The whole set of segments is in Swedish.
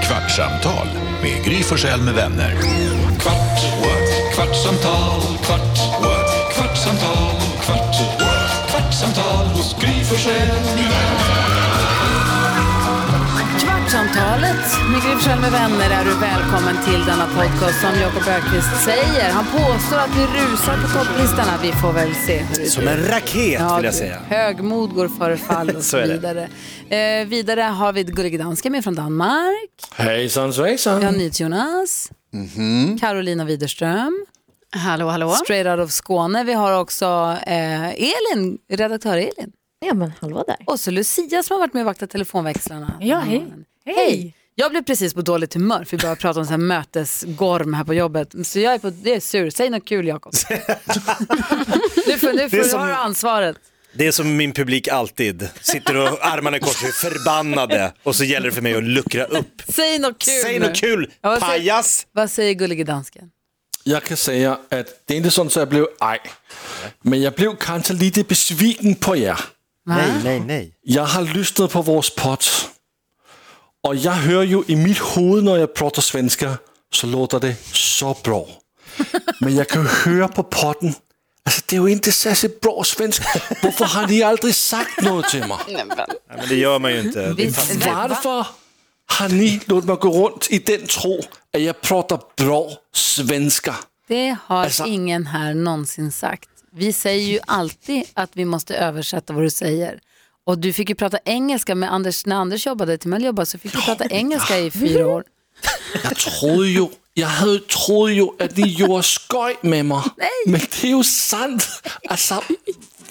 Kvartsamtal med Gry Forssell med vänner. Kvart, what? kvartsamtal, kvart, what? kvartsamtal, kvart, what? kvartsamtal hos Gry Forssell med vänner. Kvartsamtalet med Gry Forssell med vänner är du välkommen till denna podcast som Jakob Bergqvist säger. Han påstår att vi rusar på topplistorna. Vi får väl se hur det blir. Som en raket vill jag säga. Högmod går före fall och Så så är det. vidare. Eh, vidare har vi Gullige Dansken med från Danmark. Hejsan Vi har svejsan. NyhetsJonas. Mhm. Carolina Widerström. Hallå, hallå. Straight out of Skåne. Vi har också eh, Elin, redaktör Elin. Ja, men hallå där. Och så Lucia som har varit med och vaktat telefonväxlarna. Mm. Ja, hej. Hej! Jag blev precis på dåligt humör för vi började prata om så här mötesgorm här på jobbet. Så jag är, på, det är sur. Säg något kul Jakob. nu får, nu får är du som- ha ansvaret. Det är som min publik alltid. Sitter och armarna i kors, är förbannade. Och så gäller det för mig att luckra upp. Säg något kul Säg nu. något kul, Ja, vad säger- pajas! Vad säger gullige dansken? Jeg kan sige jer, at det er ikke sådan, så jeg blev ej. Men jeg blev kanskje lidt besviken på jer. Nej, nej, nej. Jeg har lyttet på vores pot. Og jeg hører jo i mit hoved, når jeg prater svensker, så låter det så bra. Men jeg kan jo høre på potten, altså det er jo ikke særlig bra svensk. Hvorfor har de aldrig sagt noget til mig? Nej, men det gör man ju inte. Vi, va? Varför har ni låtit mig gå runt i den tro, att jag pratar bra svenska? Det har Alltså- ingen här någonsin sagt. Vi säger ju alltid att vi måste översätta vad du säger. Och du fick ju prata engelska med Anders, när Anders jobbade, Timell jobbade, så fick du prata engelska i fyra år. Jeg troede jo, jeg havde troet jo, at de gjorde skøj med mig. Men det er jo sandt. Altså,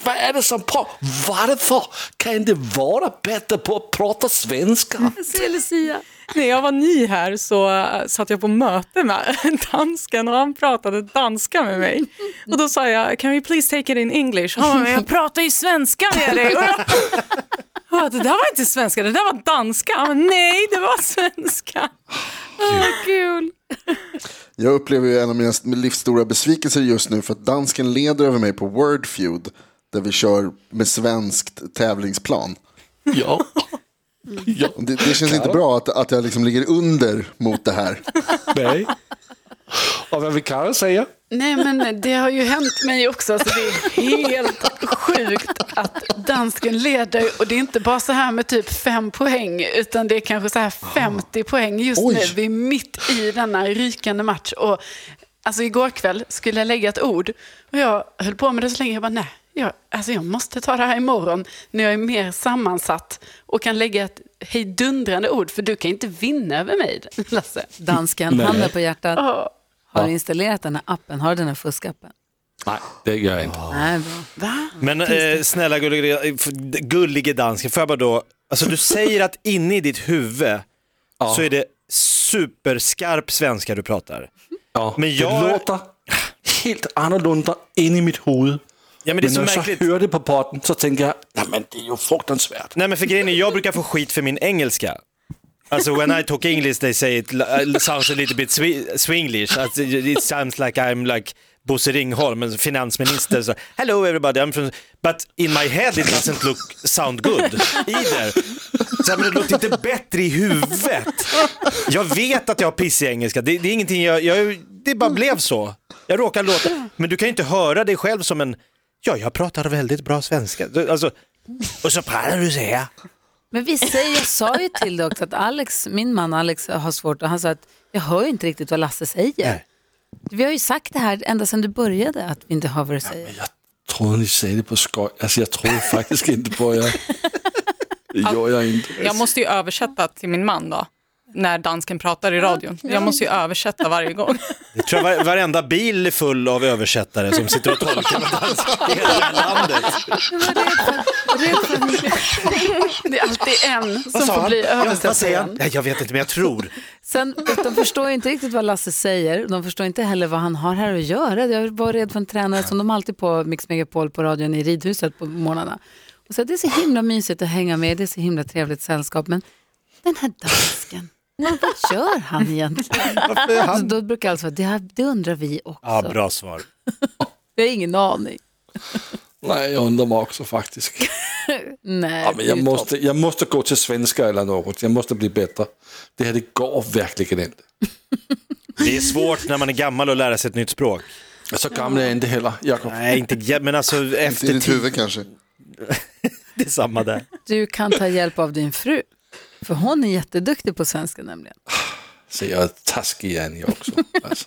hvad er det som på? Varför kan det vara bättre på att prata svenska? Säger Lucia. När jag var ny här så eh, satt jag på möte med dansken och han pratade danska med mig. Och då sa jag, can we please take it in English? Han bara, "Men jag pratar ju svenska med dig. Och jag, jag bara, det där var inte svenska, det där var danska. Han bara, nej, det var svenska. Åh, kul. Jag upplever ju en av mina livsstora besvikelser just nu för att dansken leder över mig på Wordfeud där vi kör med svenskt tävlingsplan. Ja. ja. Det, det känns inte bra att, att jag liksom ligger under mot det här. Nej. Och vad vill Karo säga? Nej, men det har ju hänt mig också, så det är helt sjukt att dansken leder. Och det är inte bara så här med typ fem poäng, utan det är kanske så här 50 poäng just Oj. nu. Vi är mitt i denna rykande match. Och, alltså igår kväll skulle jag lägga ett ord och jag höll på med det så länge. Jag bara, nej, jag, alltså jag måste ta det här imorgon när jag är mer sammansatt och kan lägga ett hejdundrande ord, för du kan inte vinna över mig, Lasse. Mm. Dansken, Nej. handen på hjärtat. Åh, Har du installerat den här appen? Har du den här fuskappen? Nej, det gör jag inte. Nej, bra. va? Men eh, snälla gullige, gullige dansken, får jag bara då, alltså du säger att inne i ditt huvud så är det superskarp svenska du pratar. Ja. Men jag- Det låter helt annorlunda in i mitt huvud. Ja, men det är Men så när jag märkligt. så hör det på potten så tänker jag, nej men det är ju fruktansvärt. Nej men för grejen är, jag brukar få skit för min engelska. Alltså when I talk English they say it li- sounds a little bit swi- swinglish. Alltså, it sounds like I'm like Bosse Ringholm, en finansminister. Så, Hello everybody, I'm from... But in my head it doesn't look sound good either. Så, här, men det låter inte bättre i huvudet. Jag vet att jag har piss i engelska, det, det är ingenting jag, jag... Det bara blev så. Jag råkar låta... Men du kan ju inte höra dig själv som en... Ja, jag pratar väldigt bra svenska. Du- Alltså, och så pratar du så här. Men vi säger, jag sa ju till dig också att Alex, min man Alex har svårt och han sa att jag hör ju inte riktigt vad Lasse säger. Nej. Vi har ju sagt det här ända sedan du började att vi inte hör vad du säger. Jag trodde ni sa det på skoj. Alltså jag trodde faktiskt inte på er. Det gör jag inte. Jag måste ju översätta till min man då, när dansken pratar i radion. Jag måste ju översätta varje gång. Det tror jag var, varenda bil är full av översättare som sitter och tolkar vad dansk i hela landet. Det är alltid en som får bli Vad säger han? översättaren. Nej, jag vet inte, men jag tror. Sen, de förstår ju inte riktigt vad Lasse säger. De förstår inte heller vad han har här att göra. Jag var rädd för en tränare som de alltid på Mix Megapol på radion i ridhuset på morgnarna. Och så, det är så himla mysigt att hänga med, det är så himla trevligt sällskap. Men den här dansken, vad vad gör han egentligen? Alltså, då brukar jag alltså, det, här, det undrar vi också. Ja, bra svar. Vi har ingen aning. Nej, jag undrar mig också faktiskt. Nej, Ja, men jag, det är ju måste, jag måste gå till svenska eller något. Jag måste bli bättre. Det här det går verkligen inte. Det är svårt när man är gammal att lära sig ett nytt språk. Så gammal är jag inte heller, Jakob. Nej, inte ja, men alltså I efter ditt tio, huvud kanske. det är samma där. Du kan ta hjälp av din fru. För hon är jätteduktig på svenska nämligen. Så jag är taskig igen jag också. Alltså.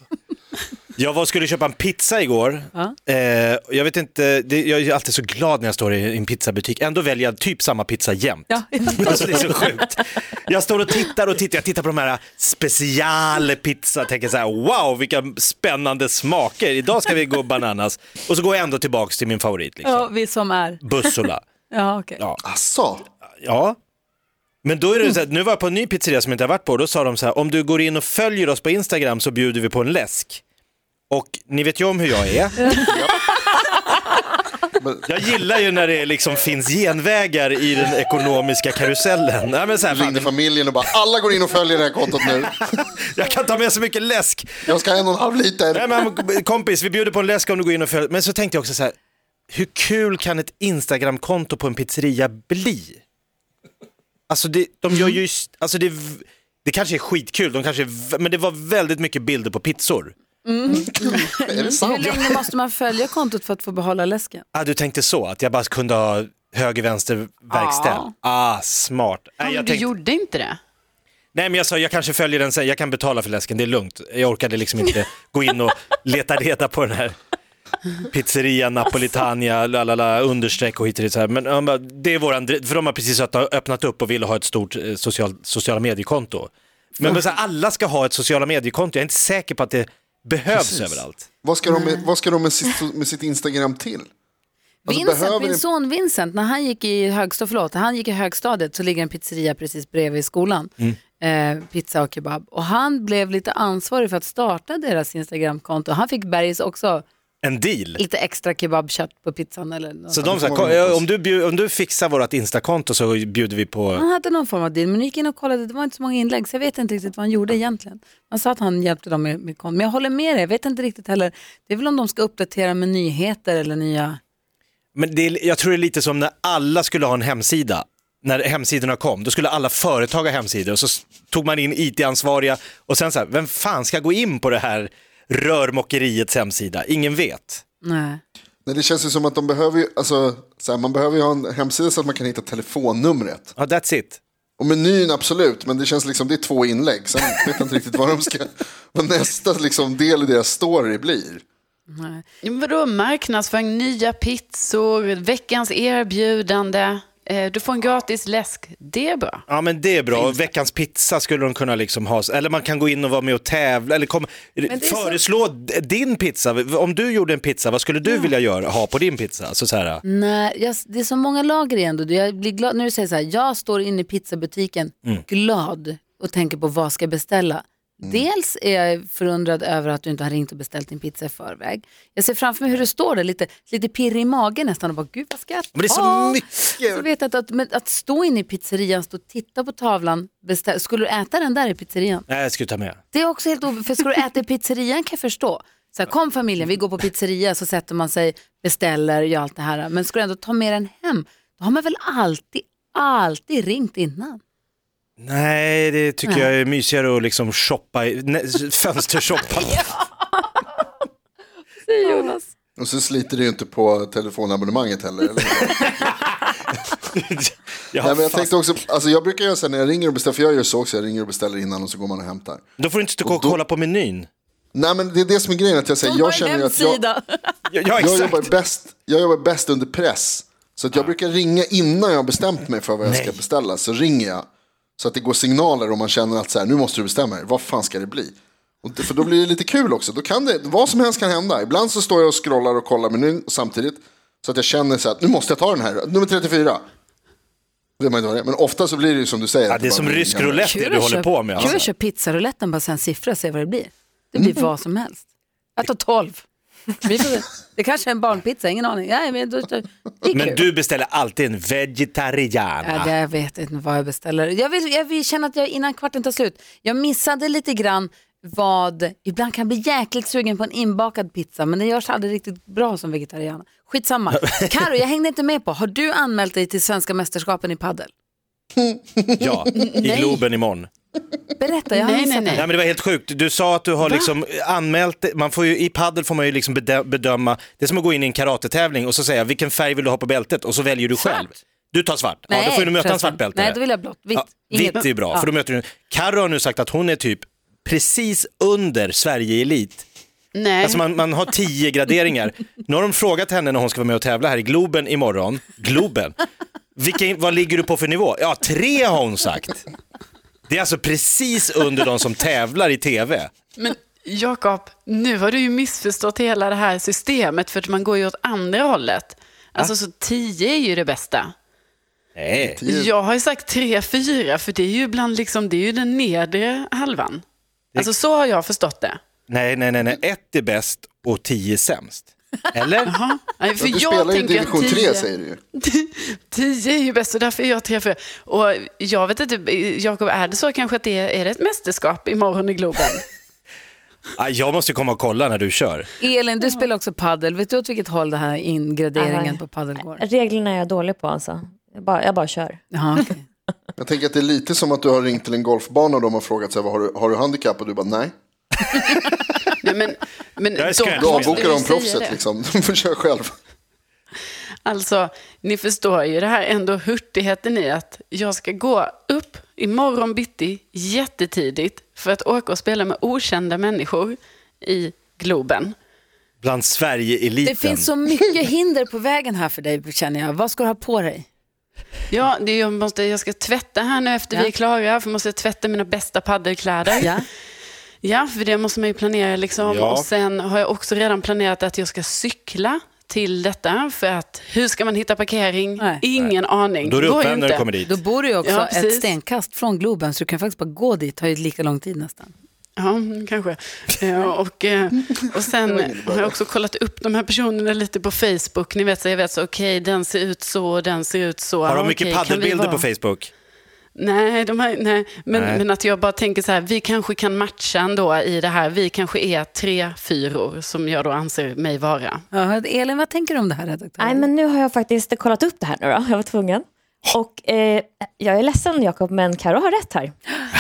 Jag var och skulle köpa en pizza igår. Ja. Eh, jag vet inte, det, jag är alltid så glad när jag står i en pizzabutik. Ändå väljer jag typ samma pizza jämt. Ja. Alltså det är så sjukt. Jag står och tittar och tittar, jag tittar på de här specialpizza, tänker så här wow vilka spännande smaker, idag ska vi gå bananas. Och så går jag ändå tillbaks till min favorit, liksom. Ja, vi som är. Bussola. Ja, okej. Ja. Asså, Ja. Men då är det så här, nu var jag på en ny pizzeria som jag inte har varit på och då sa de så här, om du går in och följer oss på Instagram så bjuder vi på en läsk. Och ni vet ju om hur jag är. Men- Jag gillar ju när det liksom finns genvägar i den ekonomiska karusellen. Nej, men så här, ringde fan, familjen och bara alla går in och följer det här kontot nu. jag kan ta med så mycket läsk. Jag ska ha en och en halv Nej, liter. men, kompis, vi bjuder på en läsk om du går in och följer. Men så tänkte jag också så här, hur kul kan ett Instagram-konto på en pizzeria bli? Alltså det, de gör ju, alltså det, det kanske är skitkul, de kanske, är- men det var väldigt mycket bilder på pizzor. Är det Hur sant? länge måste man följa kontot för att få behålla läsken? Ah, du tänkte så, att jag bara kunde ha höger, vänster, verkställ. Ja. Ah, smart. Nej, men jag du tänkte, gjorde inte det. nej, men jag sa, jag kanske följer den sen, jag kan betala för läsken, det är lugnt. Jag orkade liksom inte gå in och leta reda på den här pizzeria, napolitania, la la la, understreck och hit och dit. Så här. Men han bara, det är våran, dri- för de har precis öppnat- öppnat upp och vill ha ett stort eh, social, sociala mediekonto. Men, men så här, alla ska ha ett sociala mediekonto, jag är inte säker på att det behövs överallt. Vad ska de med, vad ska de med, sitt, med sitt Instagram till? Alltså, Vincent, behöver min ni- son Vincent, när han gick i, högstå, förlåt, när han gick i högstadiet så ligger en pizzeria precis bredvid skolan. Mm. Eh, pizza och kebab. Och han blev lite ansvarig för att starta deras Instagramkonto. Han fick bergis också En deal. lite extra kebabkött på pizzan. Eller något. Så de sa, får man hoppas. "Kom, om du, bjud, om du fixar vårt Instakonto så bjuder vi på... Han hade någon form av deal, men nu gick jag in och kollade, det var inte så många inlägg, så jag vet inte riktigt vad han gjorde egentligen. Han sa att han hjälpte dem med, med konton, men jag håller med dig, jag vet inte riktigt heller. Det är väl om de ska uppdatera med nyheter eller nya... Men det är, jag tror det är lite som när alla skulle ha en hemsida. När hemsidorna kom, då skulle alla företag ha hemsidor och så s- tog man in IT-ansvariga och sen så här, vem fan ska gå in på det här rörmokeriets hemsida? Ingen vet. Nej. Nej, det känns ju som att de behöver ju, alltså, så här, man behöver ju ha en hemsida så att man kan hitta telefonnumret. Ja, that's it. Och menyn absolut, men det känns liksom det är två inlägg. Sen vet jag inte riktigt vad de ska, vad nästa liksom, del i deras story blir. Nej. Ja, men Vadå marknadsföring, nya pizzor, veckans erbjudande. Eh, Du får en gratis läsk. Det är bra. Ja, men det är bra. Veckans pizza skulle de kunna liksom ha. Eller man kan gå in och vara med och tävla. Eller kom, är så- föreslå d- din pizza. Om du gjorde en pizza, vad skulle du vilja göra, ha på din pizza? Så, så här, Nej, jag, det är så många lager igen. Då. Jag blir glad när du säger så här, jag står inne i pizzabutiken Mm. glad och tänker på vad ska jag beställa. Dels är jag förundrad över att du inte har ringt och beställt din pizza i förväg. Jag ser framför mig hur du står där, lite, lite pirrig i magen nästan och bara, gud vad ska jag ta? Men det är så mycket. Så vet jag att, att, men att stå inne i pizzerian, stå och titta på tavlan, beställa, skulle du äta den där i pizzerian? Nej, jag skulle ta med. Det är också helt o- för ska du äta i pizzerian kan jag förstå. Så här, kom familjen, vi går på pizzeria, så sätter man sig, beställer, gör allt det här. Men ska du ändå ta med den hem, då har man väl alltid, alltid ringt innan. Nej, det tycker jag är mysigare att liksom shoppa, i- nej, fönstershoppa. Och så sliter det ju inte på telefonabonnemanget heller. Eller? Ja, Nej, men fan. jag tänkte också, alltså, jag brukar göra så här när jag ringer och beställer, för jag gör så också, jag ringer och beställer innan och så går man och hämtar. Då får du inte gå och kolla på menyn. Nej men det är det som är grejen, att jag säger, jag känner ju att jag, Ja, ja jag, exakt. jobbar bäst, jag jobbar bäst under press. Så att jag brukar ringa innan jag har bestämt mig för vad jag ska beställa. Så ringer jag. Så att det går signaler om man känner att så här, nu måste du bestämma dig. Vad fan ska det bli? Och det, för då blir det lite kul också. Då kan det, vad som helst kan hända. Ibland så står jag och scrollar och kollar menyn samtidigt. Så att jag känner så här, att nu måste jag ta den här. Nummer 34. Det är man inte vad det är. Men ofta så blir det ju som du säger. Ja, att det är bara som blir rysk en gammal- roulette det du håller på med. Kul Alltså. att köra pizzarouletten, bara sen siffra och se vad det blir. Det Mm. blir vad som helst. Jag tar 12. Vi får, se. det kanske är en barnpizza, ingen aning. Nej, men då, det är kul. Men du beställer alltid en vegetariana. Ja, det, jag vet inte vad jag beställer. Jag, vill, jag vill känna att jag innan kvarten tar slut. Jag missade lite grann vad, ibland kan jag bli jäkligt sugen på en inbakad pizza men det görs aldrig riktigt bra som vegetarian. Skitsamma. Karo, jag hängde inte med på, har du anmält dig till svenska mästerskapen i padel? Ja, i Globen imorgon. Berätta, jag har Nej, missat det. nej, Nej men det var helt sjukt. Du sa att du har liksom anmält dig- man får ju, i paddel får man ju liksom bedö- bedöma, det är som att gå in i en karatetävling och så säga vilken färg vill du ha på bältet och så väljer du själv. Du tar svart, ja då får du möta en förresten. svart bälte. Nej, då vill jag blått. Vitt. Ja, vitt är ju bra, Ja. för då möter du, Carro har nu sagt att hon är typ precis under Sverige-elit. Nej. Alltså man, man har tio graderingar. Nu har de frågat henne när hon ska vara med och tävla här i Globen imorgon, Globen, Vilken, vad ligger du på för nivå? Ja, tre har hon sagt. Det är alltså precis under de som tävlar i tv. Men Jakob, nu har du ju missförstått hela det här systemet för att man går ju åt andra hållet. Alltså så 10 är ju det bästa. Nej. Jag har ju sagt 3-4 för det är ju ibland liksom, det är ju den nedre halvan. Alltså så har jag förstått det. Nej, nej, nej, nej. ett är bäst och tio är sämst. Eller? Jaha. Nej, för Du jag spelar ju tänker division att 3 10 säger du ju. 10 är ju bäst och därför är jag 3-4. Och jag vet inte, Jakob, är det så kanske att det är ett mästerskap imorgon i Globen? Ah, Jag måste komma och kolla när du kör. Elin, du spelar också paddel. Vet du åt vilket håll den här ingraderingen Nej. på paddel går? Reglerna är jag dålig på alltså. Jag bara, jag bara kör. Jaha, okej. Jag tänker att det är lite som att du har ringt till en golfbana och de har frågat så här, vad har, du, har du handikapp? Och du bara nej. Nej, men, men Jag är då skrämd. Då måste avbokar du de säga det. proffset liksom. De får köra själv. Alltså, ni förstår ju det här ändå hurtigheten i att jag ska gå upp imorgon bitti jättetidigt för att åka och spela med okända människor i Globen. Bland Sverige-eliten. Det finns så mycket hinder på vägen här för dig känner jag. Vad ska du ha på dig? Ja, det är, jag, måste, jag ska tvätta här nu efter Ja. vi är klara, för jag måste tvätta mina bästa paddelkläder. Ja. Ja, för det måste man ju planera. Liksom. Ja. Och sen har jag också redan planerat att jag ska cykla till detta. För att hur ska man hitta parkering? Nej. Ingen aning. Då är du Går ju uppvärmd när du inte. kommer dit. Då bor du ju också Ja, ett precis. stenkast från Globen så du kan faktiskt bara gå dit. Det tar ju lika lång tid nästan. Ja, mm, kanske. Eh, Och, eh, och sen har jag också kollat upp de här personerna lite på Facebook. Ni vet, så jag vet så, okej, den ser ut så och den ser ut så. Har Ja, de mycket okej, kan vi paddelbilder på vara- Facebook? Nej, de här, nej. Men, Nej. men att jag bara tänker så här, vi kanske kan matcha ändå i det här. Vi kanske är tre fyror som jag då anser mig vara. Ja, Elin, vad tänker du om det här redaktör? Nej, men nu har jag faktiskt kollat upp det här nu då. Jag var tvungen. Och eh, jag är ledsen Jakob, men Karo har rätt här.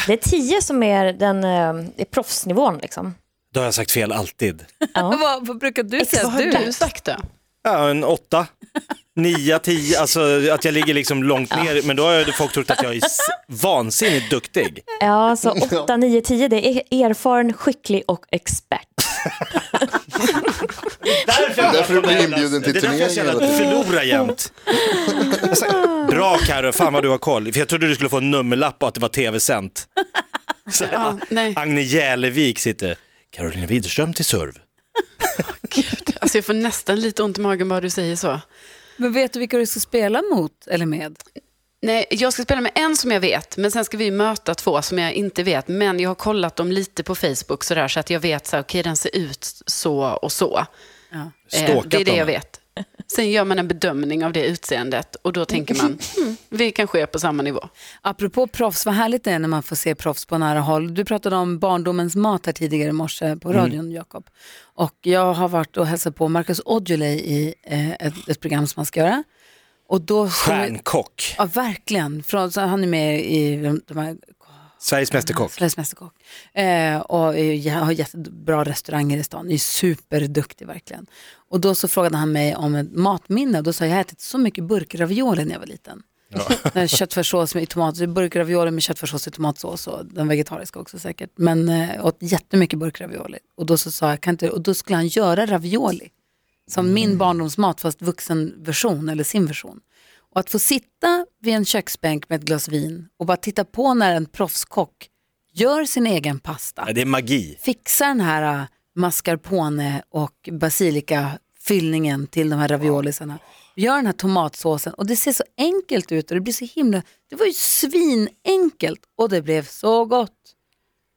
Det är tio som är den eh, är proffsnivån liksom. Då har jag sagt fel alltid. Ja. vad, vad brukar du säga? Vad har att du Du? sagt då? Ja, en åtta. Nia, tio, alltså att jag ligger liksom långt ner, men då har ju folk trott att jag är s- vansinnigt duktig. Ja, så 8, 9, 10 det är erfaren, skicklig och expert. Därför, jag Därför du blir inbjuden till Det är därför jag känner att du turneringen förlorar jämt. Jag säger, Alltså, Bra Carro, fan vad du har koll. För jag trodde du skulle få en nummerlapp och att det var tv-sänt. Så, Ja, nej, Agne Jälevik sitter. Carolina Widerström till serv. gud. Alltså jag får nästan lite ont i magen bara du säger så. Men vet du vilka du ska spela mot eller med? Nej, jag ska spela med en som jag vet, men sen ska vi möta två som jag inte vet. Men jag har kollat dem lite på Facebook sådär, så att jag vet så här, okej den ser ut så och så. Ja. Eh, Stalkat det är det dem. jag vet. Sen gör man en bedömning av det utseendet och då tänker man, mm, vi kanske är på samma nivå. Apropå proffs, vad härligt det är när man får se proffs på nära håll. Du pratade om barndomens mat här tidigare i morse på radion, Jakob. Och jag har varit och hälsat på Marcus Aujalay i eh, ett, ett program som han ska göra. Och då... Stjärnkock. Ja, verkligen. Från, så han är med i de här Sveriges mästerkock. Sveriges Mästerkock. Eh, och är, ju- har jättebra restauranger i stan. Är superduktig verkligen. Och då så frågade han mig om ett matminne. Och då sa jag, jag har ätit så mycket burkravioli när jag var liten. Ja. Eh, Köttfärssås med tomat, burkravioli med köttfärssås i tomatsås och den vegetariska också säkert. Men eh, åt jättemycket burkravioli. Och då så sa jag, kan inte, och då skulle han göra ravioli. Som min barndomsmat fast vuxenversion eller sin version. Och att få sitta vid en köksbänk med ett glas vin och bara titta på när en proffskock gör sin egen pasta, Ja, Det är magi. fixar den här äh, mascarpone och basilikafyllningen till de här raviolisarna, gör den här tomatsåsen och det ser så enkelt ut och det blir så himla, det var ju svinenkelt och det blev så gott.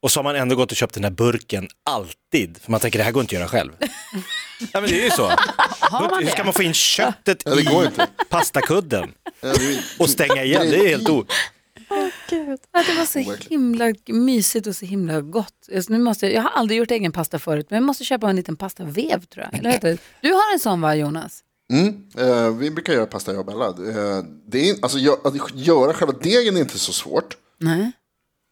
Och så har man ändå gått och köpt den här burken alltid. För man tänker det här går inte att göra själv. ja men det är ju så. Hur ska man få in köttet Ja, det går i inte. pastakudden? Ja, det är- Och stänga igen, det är helt o... Gud. Ja, det var så Overkligt. himla mysigt och så himla gott. Alltså, nu måste jag, jag har aldrig gjort egen pasta förut, men jag måste köpa en liten pastavev tror jag. Eller vad heter det? Du har en sån va, Jonas? Mm. Eh, vi brukar göra pasta jag och Bella. Eh, det är, alltså, gö- att göra själva degen är inte så svårt. Nej.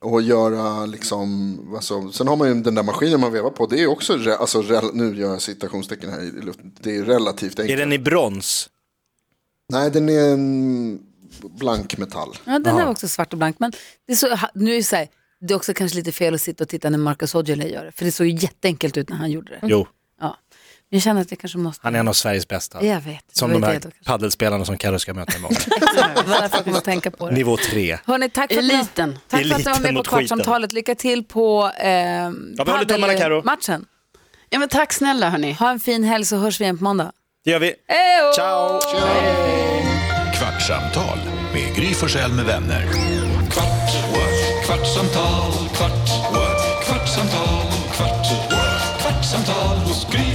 Och göra liksom, alltså, sen har man ju den där maskinen man vevar på. Det är också, re, alltså, rel, nu gör jag citationstecken här i luften. Det är relativt enkelt. Är den i brons? Nej, den är en blank metall. Ja, den här var också svart och blank. Men det är, så, ha- nu är det, så här, det är också kanske lite fel att sitta och titta när Marcus Aujalay gör det, för det såg ju jätteenkelt ut när han gjorde det. Jo, Ja. Men jag känner att jag kanske måste... han är en av Sveriges bästa. Jag vet. det Som var de ju här det då kanske. paddelspelarna som Carro ska möta imorgon. Det var därför jag kom att tänka på det. Nivå tre. Hörni, tack för att ni, Eliten. tack för att ni var med Eliten på mot skiten. Kvartsamtalet. Lycka till på eh, vi håller tummarna, Karo. paddelmatchen. Ja, men tack snälla hörni. Ha en fin helg så hörs vi igen på måndag. Det gör vi. Hejo! Ciao! Kvartsamtal med Gry Forssell med vänner. Kvart, what? kvartsamtal, kvart, what? kvartsamtal, kvart, what? kvartsamtal hos Gry